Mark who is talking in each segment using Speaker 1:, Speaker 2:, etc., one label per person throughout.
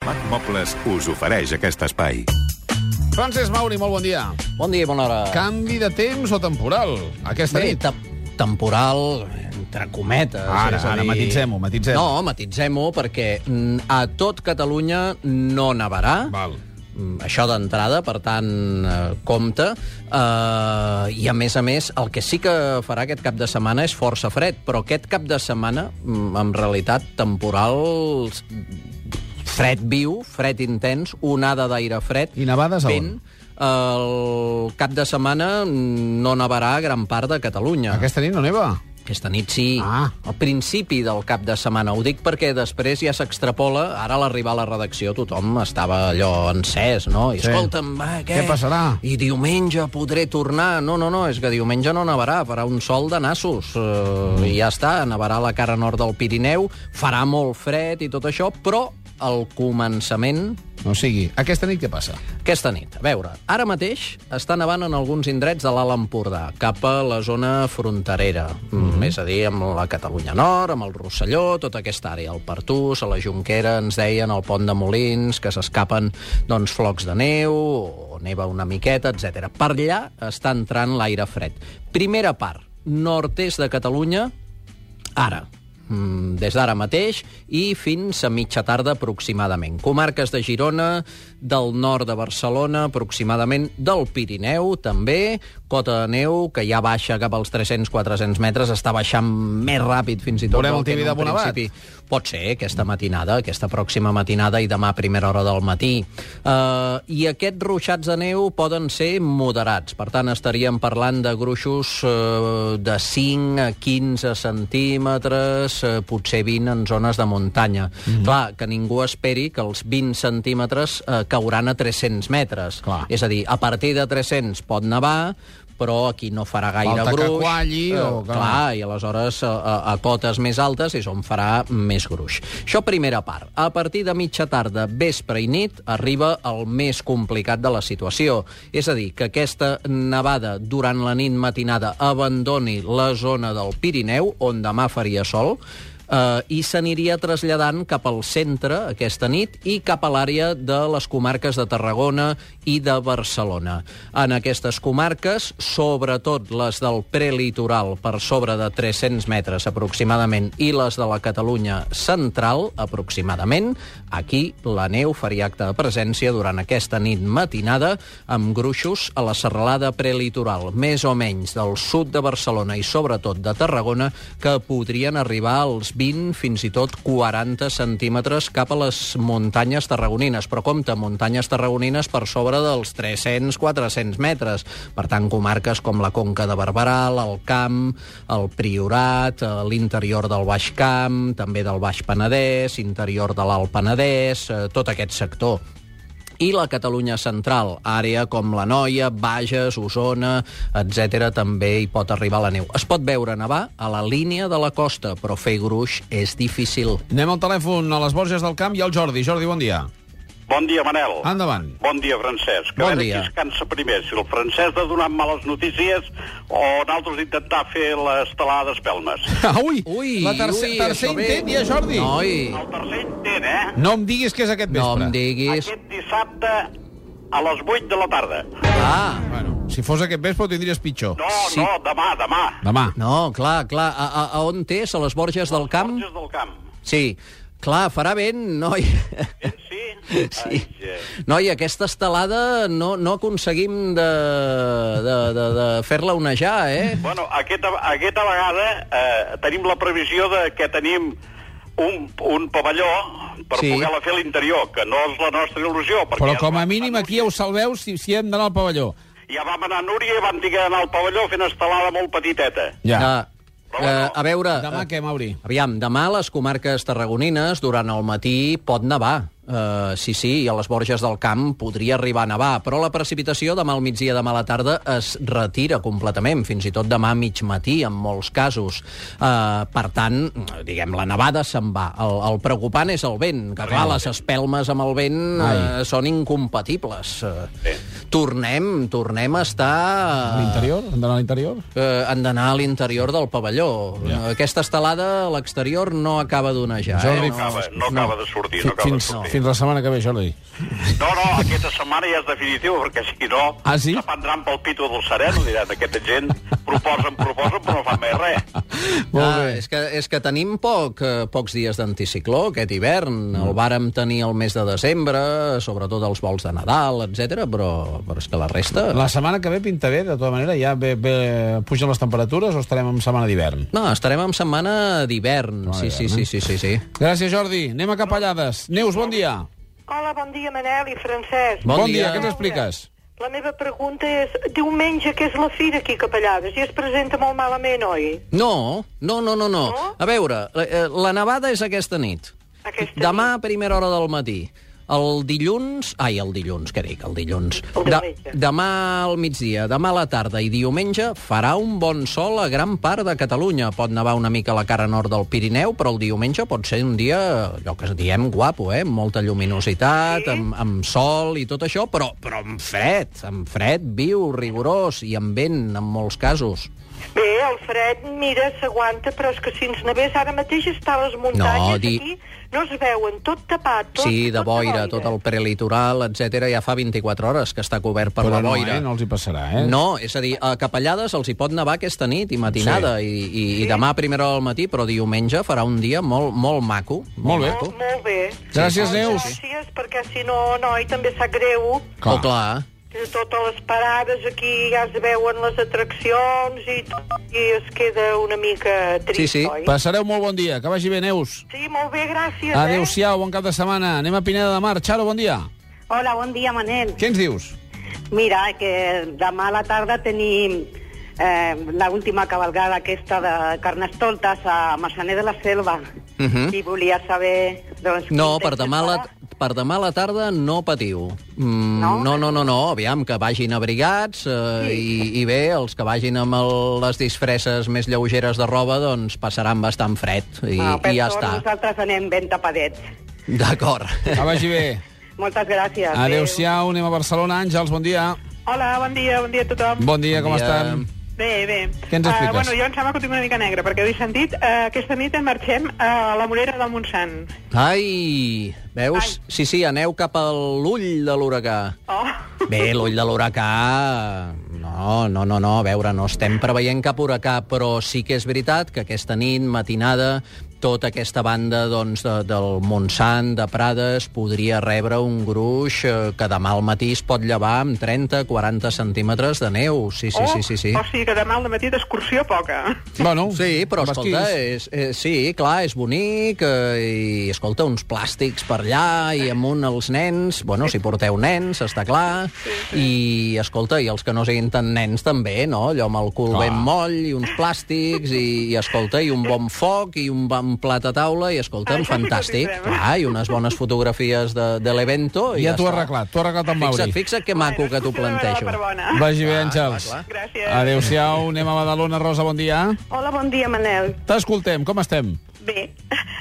Speaker 1: Marc Mobles us ofereix aquest espai.
Speaker 2: Francesc Mauri, molt bon dia.
Speaker 3: Bon dia i bona hora.
Speaker 2: Canvi de temps o temporal aquesta
Speaker 3: Bé,
Speaker 2: nit?
Speaker 3: te- temporal, entre cometes.
Speaker 2: Ara,
Speaker 3: és a
Speaker 2: ara,
Speaker 3: dir-
Speaker 2: matisem-ho, matisem-ho.
Speaker 3: No, matitzem-ho, perquè mm, a tot Catalunya no nevarà.
Speaker 2: Val.
Speaker 3: Mm, Això d'entrada, per tant, eh, compte. Eh, I, a més a més, el que sí que farà aquest cap de setmana és força fred, però aquest cap de setmana, mm, en realitat, temporal fred viu, fred intens, onada d'aire fred.
Speaker 2: I nevades a on?
Speaker 3: vent. El cap de setmana no nevarà a gran part de Catalunya.
Speaker 2: Ah. Aquesta nit no neva?
Speaker 3: Aquesta nit sí,
Speaker 2: Ah.
Speaker 3: al principi del cap de setmana. Ho dic perquè després ja s'extrapola. Ara, a l'arribar a la redacció, tothom estava allò encès, no? I
Speaker 2: Sí.
Speaker 3: escolta'm, va, què?
Speaker 2: Què passarà?
Speaker 3: I diumenge podré tornar. No, no, no, és que diumenge no nevarà, farà un sol de nassos. Uh, I ja està, nevarà a la cara nord del Pirineu, farà molt fred i tot això, però al començament
Speaker 2: O sigui, aquesta nit què passa?
Speaker 3: aquesta nit. A veure, ara mateix està nevant en alguns indrets de l'Alt Empordà, cap a la zona fronterera, mm -hmm. és a dir, amb la Catalunya Nord, amb el Rosselló, tota aquesta àrea, el Pertús, a la Jonquera, ens deien, el Pont de Molins, que s'escapen doncs, flocs de neu, o neva una miqueta, etc. Per allà està entrant l'aire fred. Primera part, nord-est de Catalunya, ara, Mm, des d'ara mateix i fins a mitja tarda aproximadament. Comarques de Girona, del nord de Barcelona, aproximadament del Pirineu, també, cota de neu, que ja baixa cap als 300-400 metres, està baixant més ràpid fins i tot.
Speaker 2: Veurem
Speaker 3: del
Speaker 2: el
Speaker 3: que en
Speaker 2: TV de
Speaker 3: un
Speaker 2: Bonabat?
Speaker 3: principi Pot ser aquesta matinada, aquesta pròxima matinada i demà a primera hora del matí. Uh, I aquests ruixats de neu poden ser moderats. Per tant, estaríem parlant de gruixos uh, de 5 a 15 centímetres, uh, potser 20 en zones de muntanya. Mm. Clar, que ningú esperi que els 20 centímetres uh, cauran a 300 metres.
Speaker 2: Clar.
Speaker 3: És a dir, a partir de 300 pot nevar, però aquí no farà gaire
Speaker 2: Falta que
Speaker 3: gruix.
Speaker 2: qualli
Speaker 3: Eh,
Speaker 2: o que-
Speaker 3: Clar, Ah, i aleshores a, a, a cotes més altes és on farà més gruix. Això primera part. A partir de mitja tarda, vespre i nit, arriba el més complicat de la situació. És a dir, que aquesta nevada durant la nit matinada abandoni la zona del Pirineu, on demà faria sol, eh, i s'aniria traslladant cap al centre aquesta nit i cap a l'àrea de les comarques de Tarragona i de Barcelona. En aquestes comarques, sobretot les del prelitoral per sobre de 300 metres aproximadament i les de la Catalunya central aproximadament, aquí la neu faria acte de presència durant aquesta nit matinada amb gruixos a la serralada prelitoral, més o menys del sud de Barcelona i sobretot de Tarragona, que podrien arribar als 20, fins i tot 40 centímetres cap a les muntanyes tarragonines. Però compte, muntanyes tarragonines per sobre dels 300-400 metres. Per tant, comarques com la Conca de Barberà, l'Alt Camp, el Priorat, eh, l'interior del Baix Camp, també del Baix Penedès, interior de l'Alt Penedès, eh, tot aquest sector i la Catalunya central, àrea com la Noia, Bages, Osona, etc també hi pot arribar la neu. Es pot veure nevar a la línia de la costa, però fer gruix és difícil.
Speaker 2: Anem al telèfon a les Borges del Camp i al Jordi. Jordi, bon dia.
Speaker 4: Bon dia, Manel.
Speaker 2: Endavant.
Speaker 4: Bon dia, Francesc.
Speaker 3: Bon
Speaker 4: a veure
Speaker 3: dia.
Speaker 4: qui es cansa primer, si el Francesc de donar males notícies o nosaltres intentar fer l'estelada d'espelmes.
Speaker 2: Ah, ui,
Speaker 3: Ui,
Speaker 2: la tercer,
Speaker 3: ui,
Speaker 2: tercer
Speaker 3: això ve.
Speaker 2: intent ja, Jordi.
Speaker 3: Noi,
Speaker 4: El tercer intent, eh?
Speaker 2: No em diguis que és aquest
Speaker 3: no
Speaker 2: vespre.
Speaker 3: em diguis...
Speaker 4: Aquest dissabte a les 8 de la tarda.
Speaker 3: Ah,
Speaker 2: Bueno, si fos aquest vespre ho tindries pitjor.
Speaker 4: No,
Speaker 3: Sí.
Speaker 4: no, demà, demà.
Speaker 2: Demà.
Speaker 3: no, clar, clar. A, a, a on té? A les Borges del Camp?
Speaker 4: Borges del Camp.
Speaker 3: Sí. Clar, farà vent, noi.
Speaker 4: Eh, Sí?
Speaker 3: Sí.
Speaker 4: Ai, eh.
Speaker 3: Noi, aquesta estelada no, no aconseguim de, de, de, de fer-la onejar, eh?
Speaker 4: Bueno, aquesta, aquesta vegada eh, tenim la previsió de que tenim un, un pavelló per
Speaker 3: Sí.
Speaker 4: sí. poder-la fer a l'interior, que no és la nostra il·lusió. perquè
Speaker 2: Però
Speaker 4: ja
Speaker 2: com a
Speaker 4: vam
Speaker 2: mínim
Speaker 4: anar
Speaker 2: aquí ja ho salveu si, si hem d'anar al pavelló.
Speaker 4: Ja vam anar a Núria i vam dir que anar al pavelló fent estelada molt petiteta.
Speaker 2: Ja.
Speaker 3: Ah, eh, a veure...
Speaker 2: Demà què, Mauri?
Speaker 3: Aviam, demà a les comarques tarragonines durant el matí pot nevar. Uh, sí, sí, i a les Borges del Camp podria arribar a nevar, però la precipitació demà al migdia, demà a la tarda, es retira completament, fins i tot demà a mig matí, en molts casos. Uh, per tant, diguem, la nevada se'n va. El, el preocupant és el vent, que clar, les espelmes amb el vent uh, són eh, incompatibles. Uh, tornem, tornem a estar...
Speaker 2: A l'interior? Hem d'anar a l'interior?
Speaker 3: eh, han d'anar a l'interior del pavelló.
Speaker 2: Ja.
Speaker 3: Ja. Aquesta estelada a l'exterior no acaba d'onejar.
Speaker 2: Jordi,
Speaker 3: eh?
Speaker 4: No acaba, no acaba de sortir,
Speaker 2: Fi-
Speaker 4: no acaba de
Speaker 2: fins,
Speaker 4: sortir.
Speaker 2: fins la setmana que ve, Jordi.
Speaker 4: No, no, aquesta setmana ja és definitiu, perquè si no,
Speaker 2: Ah, sí?
Speaker 4: se prendran pel pito del sereno, diran, aquesta gent proposen, proposen, però no fan més res.
Speaker 2: Molt
Speaker 3: Ah,
Speaker 2: bé.
Speaker 3: és, que, és que tenim poc, eh, pocs dies d'anticicló aquest hivern.
Speaker 2: Mm.
Speaker 3: El vàrem tenir el mes de desembre, sobretot els vols de Nadal, etc. Però, però és que la resta...
Speaker 2: La setmana que ve pinta bé, de tota manera, ja ve, ve, pugen les temperatures o estarem en setmana d'hivern?
Speaker 3: No, estarem en setmana d'hivern. Sí, sí,
Speaker 2: eh?
Speaker 3: sí, sí, sí, sí.
Speaker 2: Gràcies, Jordi. Anem a Capellades. Neus, bon dia.
Speaker 5: Hola, bon dia, Manel i Francesc.
Speaker 3: Bon dia.
Speaker 2: Què ens expliques?
Speaker 5: La meva pregunta és, diumenge, que és la fira aquí a Capellades, i es presenta molt malament, oi?
Speaker 3: No, no, no, no, no.
Speaker 5: No?
Speaker 3: A veure, la, eh, la nevada és aquesta nit.
Speaker 5: Aquesta
Speaker 3: Demà a primera hora del matí. El dilluns... Ai, el dilluns, què dic, el dilluns.
Speaker 5: El diumenge.
Speaker 3: demà al migdia, demà a la tarda i diumenge farà un bon sol a gran part de Catalunya. Pot nevar una mica a la cara nord del Pirineu, però el diumenge pot ser un dia, allò que diem, guapo, eh? Amb molta lluminositat, sí. amb, amb sol i tot això, però, però amb fred, amb fred viu, rigorós i amb vent, en molts casos.
Speaker 5: Bé, el fred, mira, s'aguanta, però és que si ens nevés ara mateix està a les muntanyes,
Speaker 3: No, di-
Speaker 5: aquí no es veuen, tot tapat, tot,
Speaker 3: Sí, de
Speaker 5: tot
Speaker 3: boira, tot el prelitoral, etc. ja fa 24 hores que està cobert per la
Speaker 2: no,
Speaker 3: boira.
Speaker 2: eh? no els hi passarà, eh?
Speaker 3: No, és a dir, a Capellades els hi pot nevar aquesta nit i matinada, sí. i, i, i demà a primera hora del matí, però diumenge farà un dia molt, molt maco.
Speaker 2: Molt bé.
Speaker 5: Molt, molt bé.
Speaker 2: Gràcies,
Speaker 5: Doncs
Speaker 2: Neus.
Speaker 5: Gràcies, perquè si no, noi, també sap greu.
Speaker 2: Clar.
Speaker 3: Clar. Oh, clar.
Speaker 5: que Totes les parades aquí ja es veuen les atraccions i, tot, i es queda una mica trist,
Speaker 3: sí.
Speaker 5: oi?
Speaker 2: Passareu molt bon dia. Que vagi bé, Neus.
Speaker 5: Sí, molt bé, gràcies. Eh?
Speaker 2: Adéu-siau, bon cap de setmana. Anem a Pineda de Mar. Xaro, bon dia.
Speaker 6: Hola, bon dia, Manel.
Speaker 2: Què ens dius?
Speaker 6: Mira, que demà a la tarda tenim eh, l'última cavalgada aquesta de Carnestoltes a Massaner de la Selva. Uh
Speaker 3: Mhm.
Speaker 6: -huh. I volia saber... Doncs,
Speaker 3: No,
Speaker 6: quin
Speaker 3: per
Speaker 6: temps
Speaker 3: demà, a la,
Speaker 6: farà.
Speaker 3: per demà a la tarda no patiu. Mm, no?
Speaker 6: No?
Speaker 3: no, no, no, no, aviam, que vagin abrigats eh, i, i bé, els que vagin amb el, les disfresses més lleugeres de roba, doncs passaran bastant fred i,
Speaker 6: Ah, per
Speaker 3: i ja
Speaker 6: sort,
Speaker 3: està.
Speaker 6: Nosaltres anem ben tapadets.
Speaker 3: D'acord.
Speaker 2: Que vagi bé.
Speaker 6: Moltes gràcies.
Speaker 2: Adéu-siau, anem a Barcelona. Àngels, bon dia.
Speaker 7: Hola, bon dia, bon dia a tothom.
Speaker 2: Bon dia, com
Speaker 3: Bon dia.
Speaker 2: estan?
Speaker 7: Bé, bé.
Speaker 2: Què
Speaker 5: Ah,
Speaker 2: ens expliques?
Speaker 7: Eh, bueno, jo em sembla que ho tinc una mica negre, perquè he sentit eh, aquesta nit en marxem a la Morera del Montsant.
Speaker 3: Ai, veus? Ai. Sí, sí, aneu cap a l'ull de l'huracà.
Speaker 7: Oh.
Speaker 3: Bé, l'ull de l'huracà... No, no, no, no, a veure, no estem preveient cap huracà, però sí que és veritat que aquesta nit, matinada, tota aquesta banda doncs, de, del Montsant, de Prades, podria rebre un gruix eh, que demà al matí es pot llevar amb 30-40 centímetres de neu. Sí, sí,
Speaker 7: oh,
Speaker 3: sí, sí, sí.
Speaker 7: O sigui que demà al matí d'excursió poca.
Speaker 2: Bueno,
Speaker 3: Sí, però
Speaker 2: amb
Speaker 3: escolta, eh,
Speaker 2: esquís.
Speaker 3: és, és, sí, clar, és bonic, eh, i escolta, uns plàstics per allà, i amb un els nens, bueno, si porteu nens, està clar, i escolta, i els que no siguin tan nens també, no?, allò amb el cul ben moll, i uns plàstics, i, i escolta, i un bon foc, i un bon plat a taula, i escolta,
Speaker 7: Això sí que ho
Speaker 3: fantàstic,
Speaker 7: tindrem.
Speaker 3: clar, i unes bones fotografies de, de l'evento, i
Speaker 2: Ja
Speaker 3: ja,
Speaker 2: t'ho he
Speaker 3: està.
Speaker 2: arreglat, t'ho ha arreglat en Mauri.
Speaker 3: Fixa't, fixa't que maco que t'ho
Speaker 7: Excursió de Nadal
Speaker 3: plantejo.
Speaker 7: Per bona.
Speaker 2: Vagi bé,
Speaker 3: Clar,
Speaker 2: Àngels.
Speaker 3: Ah, clar, clar.
Speaker 7: Gràcies.
Speaker 2: Adéu-siau, anem a Badalona. Rosa, bon dia.
Speaker 8: Hola, bon dia, Manel.
Speaker 2: T'escoltem, com estem?
Speaker 8: Bé,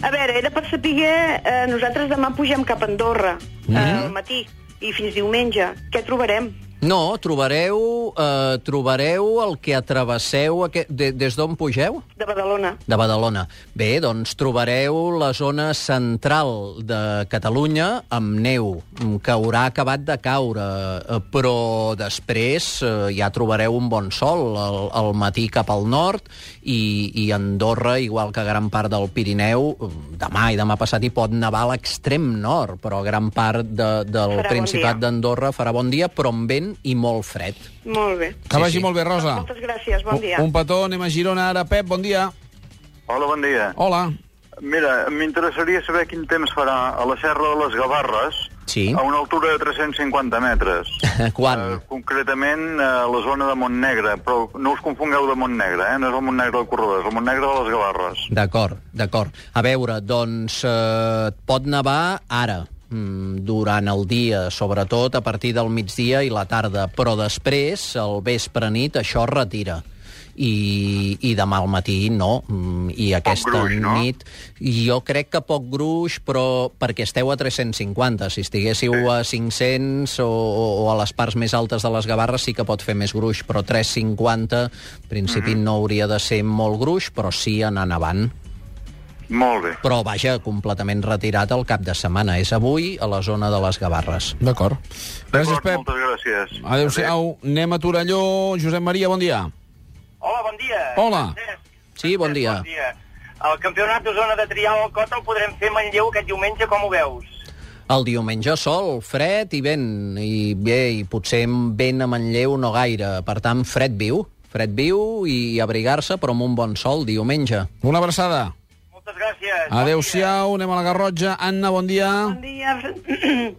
Speaker 8: a veure, era per saber... Eh, nosaltres demà pugem cap a Andorra, mm -hmm. al matí, i fins diumenge. Què trobarem?
Speaker 3: No, trobareu, eh, trobareu el que atrevesseu... Aquest... De, des d'on pugeu?
Speaker 8: De Badalona.
Speaker 3: De Badalona. Bé, doncs trobareu la zona central de Catalunya amb neu, mm, que haurà acabat de caure, eh, però després eh, ja trobareu un bon sol al, al matí cap al nord i, i Andorra, igual que gran part del Pirineu, mm, demà i demà passat hi pot nevar a l'extrem nord, però gran part de, del
Speaker 8: Farà bon
Speaker 3: Principat
Speaker 8: dia.
Speaker 3: d'Andorra farà bon dia, però amb vent i molt fred.
Speaker 8: Molt bé.
Speaker 2: Que
Speaker 3: Sí,
Speaker 2: vagi
Speaker 3: sí.
Speaker 2: molt bé, Rosa.
Speaker 8: Moltes gràcies, bon dia.
Speaker 2: Un, un petó, anem a Girona ara. Pep, bon dia.
Speaker 9: Hola, bon dia.
Speaker 2: Hola.
Speaker 9: Mira, m'interessaria saber quin temps farà a la Serra de les Gavarres
Speaker 3: Sí.
Speaker 9: a una altura de 350 metres.
Speaker 3: Quan?
Speaker 9: Eh, concretament a la zona de Montnegre, però no us confongueu de Montnegre, eh? no és el Montnegre del Corredor, és el Montnegre de les Gavarres.
Speaker 3: D'acord, d'acord. A veure, doncs eh, pot nevar ara, mm, durant el dia, sobretot a partir del migdia i la tarda, però després, el vespre nit, això retira i, i demà al matí no. Mm, I aquesta
Speaker 9: gruix, no?
Speaker 3: nit... Jo crec que poc gruix, però perquè esteu a 350. Si estiguéssiu a 500 o, o a les parts més altes de les gavarres sí que pot fer més gruix, però 350 en principi
Speaker 9: Mhm.
Speaker 3: mm -hmm. no hauria de ser molt gruix, però sí anant avant.
Speaker 9: Molt bé.
Speaker 3: Però vaja, completament retirat al cap de setmana. És avui a la zona de les gavarres.
Speaker 2: D'acord. Gràcies,
Speaker 9: D'acord,
Speaker 2: Pep.
Speaker 9: Moltes gràcies.
Speaker 2: Adéu-siau. Anem a Torelló. Josep Maria, bon dia.
Speaker 4: Hola, bon dia.
Speaker 2: Hola.
Speaker 4: Francesc.
Speaker 3: Sí, bon dia.
Speaker 4: Francesc, El campionat de zona de trial al Cota el podrem fer a Manlleu aquest diumenge, com ho veus?
Speaker 3: El diumenge sol, fred i vent. I bé, i potser amb vent a Manlleu no gaire. Per tant, fred viu. Fred viu i abrigar-se, però amb un bon sol diumenge.
Speaker 2: Una abraçada.
Speaker 4: Moltes gràcies. Bon
Speaker 2: Adéu-siau. Anem a la Garrotja. Anna, bon dia.
Speaker 8: Bon dia, Fran-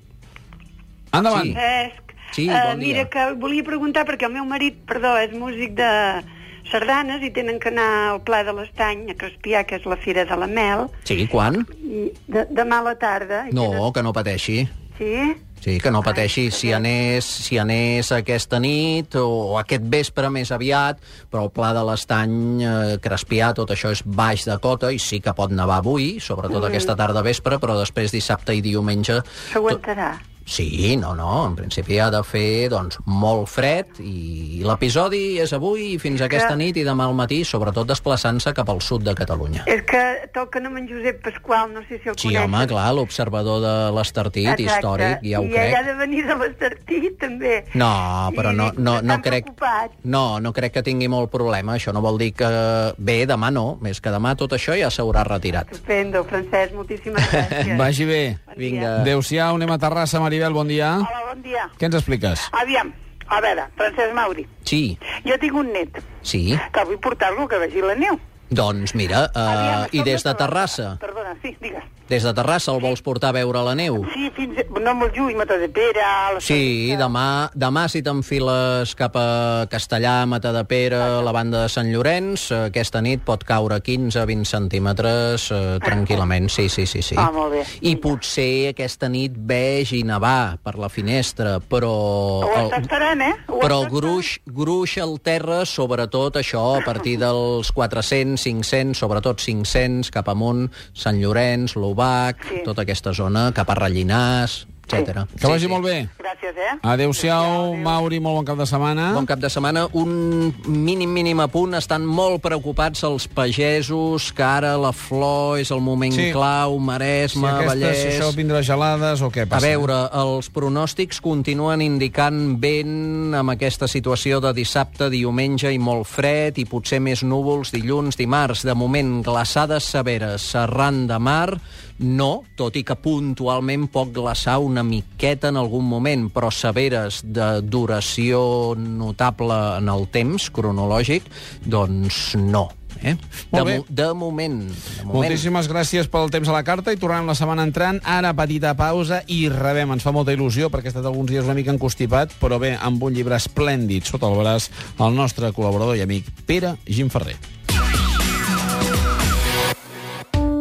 Speaker 2: Endavant.
Speaker 3: Sí.
Speaker 8: Francesc.
Speaker 3: Sí,
Speaker 8: Eh,
Speaker 3: bon dia.
Speaker 8: mira, que volia preguntar, perquè el meu marit, perdó, és músic de sardanes i tenen que anar al Pla de l'Estany a Crespià, que és la Fira de la Mel,
Speaker 3: Sí, quan?
Speaker 8: i de, demà a la tarda. I
Speaker 3: No, que no pateixi.
Speaker 8: Sí?
Speaker 3: Sí, que no pateixi si anés, si anés aquesta nit o aquest vespre més aviat, però el Pla de l'Estany, eh, Crespià, tot això és baix de cota i sí que pot nevar avui, sobretot aquesta tarda vespre, però després dissabte i diumenge... tot-
Speaker 8: S'aguantarà.
Speaker 3: Sí, no, no, en principi ha de fer doncs, molt fred i l'episodi és avui i fins aquesta nit i demà al matí, sobretot desplaçant-se cap al sud de Catalunya.
Speaker 8: És que toquen amb en Josep Pasqual, no sé si el
Speaker 3: Sí,
Speaker 8: coneixes.
Speaker 3: home, clar, l'observador de l'Estartit,
Speaker 8: Exacte.
Speaker 3: històric, ja ho
Speaker 8: I
Speaker 3: crec.
Speaker 8: ell ha de venir de l'Estartit, també.
Speaker 3: No, però
Speaker 8: I
Speaker 3: no, no, no
Speaker 8: estan
Speaker 3: crec...
Speaker 8: preocupats.
Speaker 3: No, no crec que tingui molt problema. Això no vol dir que... Bé, demà no. Més que demà tot això ja s'haurà retirat.
Speaker 8: Estupendo, Francesc, moltíssimes gràcies.
Speaker 2: Vagi bé.
Speaker 3: Vinga.
Speaker 2: Adéu-siau. Anem a Terrassa. Maribel, bon dia.
Speaker 5: Hola, bon dia.
Speaker 2: Què ens expliques?
Speaker 5: Aviam, a veure, Francesc Mauri,
Speaker 3: Sí,
Speaker 5: jo tinc un net
Speaker 3: sí.
Speaker 5: que vull portar-lo que vegi la neu.
Speaker 3: Doncs mira,
Speaker 5: Aviam,
Speaker 3: uh, i
Speaker 5: som
Speaker 3: des de
Speaker 5: Terrassa.
Speaker 3: Terrassa?
Speaker 5: Perdona, sí, digues.
Speaker 3: Des de Terrassa el vols portar a veure la neu?
Speaker 5: Sí, fins... No molt lluny, Mata de Pere... La
Speaker 3: Sí, demà, demà si t'enfiles cap a Castellà, Matadepera, a la banda de Sant Llorenç, eh, aquesta nit pot caure 15-20 centímetres eh, tranquil·lament, sí, sí, sí. sí.
Speaker 5: Ah, molt bé.
Speaker 3: I potser aquesta nit veig i nevar per la finestra, però...
Speaker 5: Ho
Speaker 3: el-
Speaker 5: està esperant, eh? Ho
Speaker 3: però el
Speaker 5: està esperant.
Speaker 3: gruix, gruix al terra, sobretot això, a partir dels 400, 500, sobretot 500, cap amunt, Sant Llorenç, Lobac, sí. tota aquesta zona, cap a Rellinars, etc.
Speaker 2: Que vagi molt bé.
Speaker 5: Gràcies, eh?
Speaker 2: Adéu-siau, Mauri, molt bon cap de setmana.
Speaker 3: Bon cap de setmana. Un mínim, mínim apunt. Estan molt preocupats els pagesos, que ara la flor és el moment
Speaker 2: Sí.
Speaker 3: sí. clau,
Speaker 2: si
Speaker 3: Maresme,
Speaker 2: aquestes,
Speaker 3: Vallès...
Speaker 2: si això vindrà gelades o què
Speaker 3: A
Speaker 2: passa?
Speaker 3: veure, els pronòstics continuen indicant vent amb aquesta situació de dissabte, diumenge i molt fred i potser més núvols dilluns, dimarts. De moment, glaçades severes arran de mar, no, tot i que puntualment pot glaçar una miqueta en algun moment, però severes de duració notable en el temps cronològic, doncs no. Eh?
Speaker 2: Molt
Speaker 3: De,
Speaker 2: bé.
Speaker 3: mo- de moment. De moment.
Speaker 2: Moltíssimes gràcies pel temps a la carta i tornem la setmana entrant. Ara, petita pausa i rebem. Ens fa molta il·lusió perquè ha estat alguns dies una mica encostipat, però bé, amb un llibre esplèndid sota el braç, el nostre col·laborador i amic Pere Gimferrer.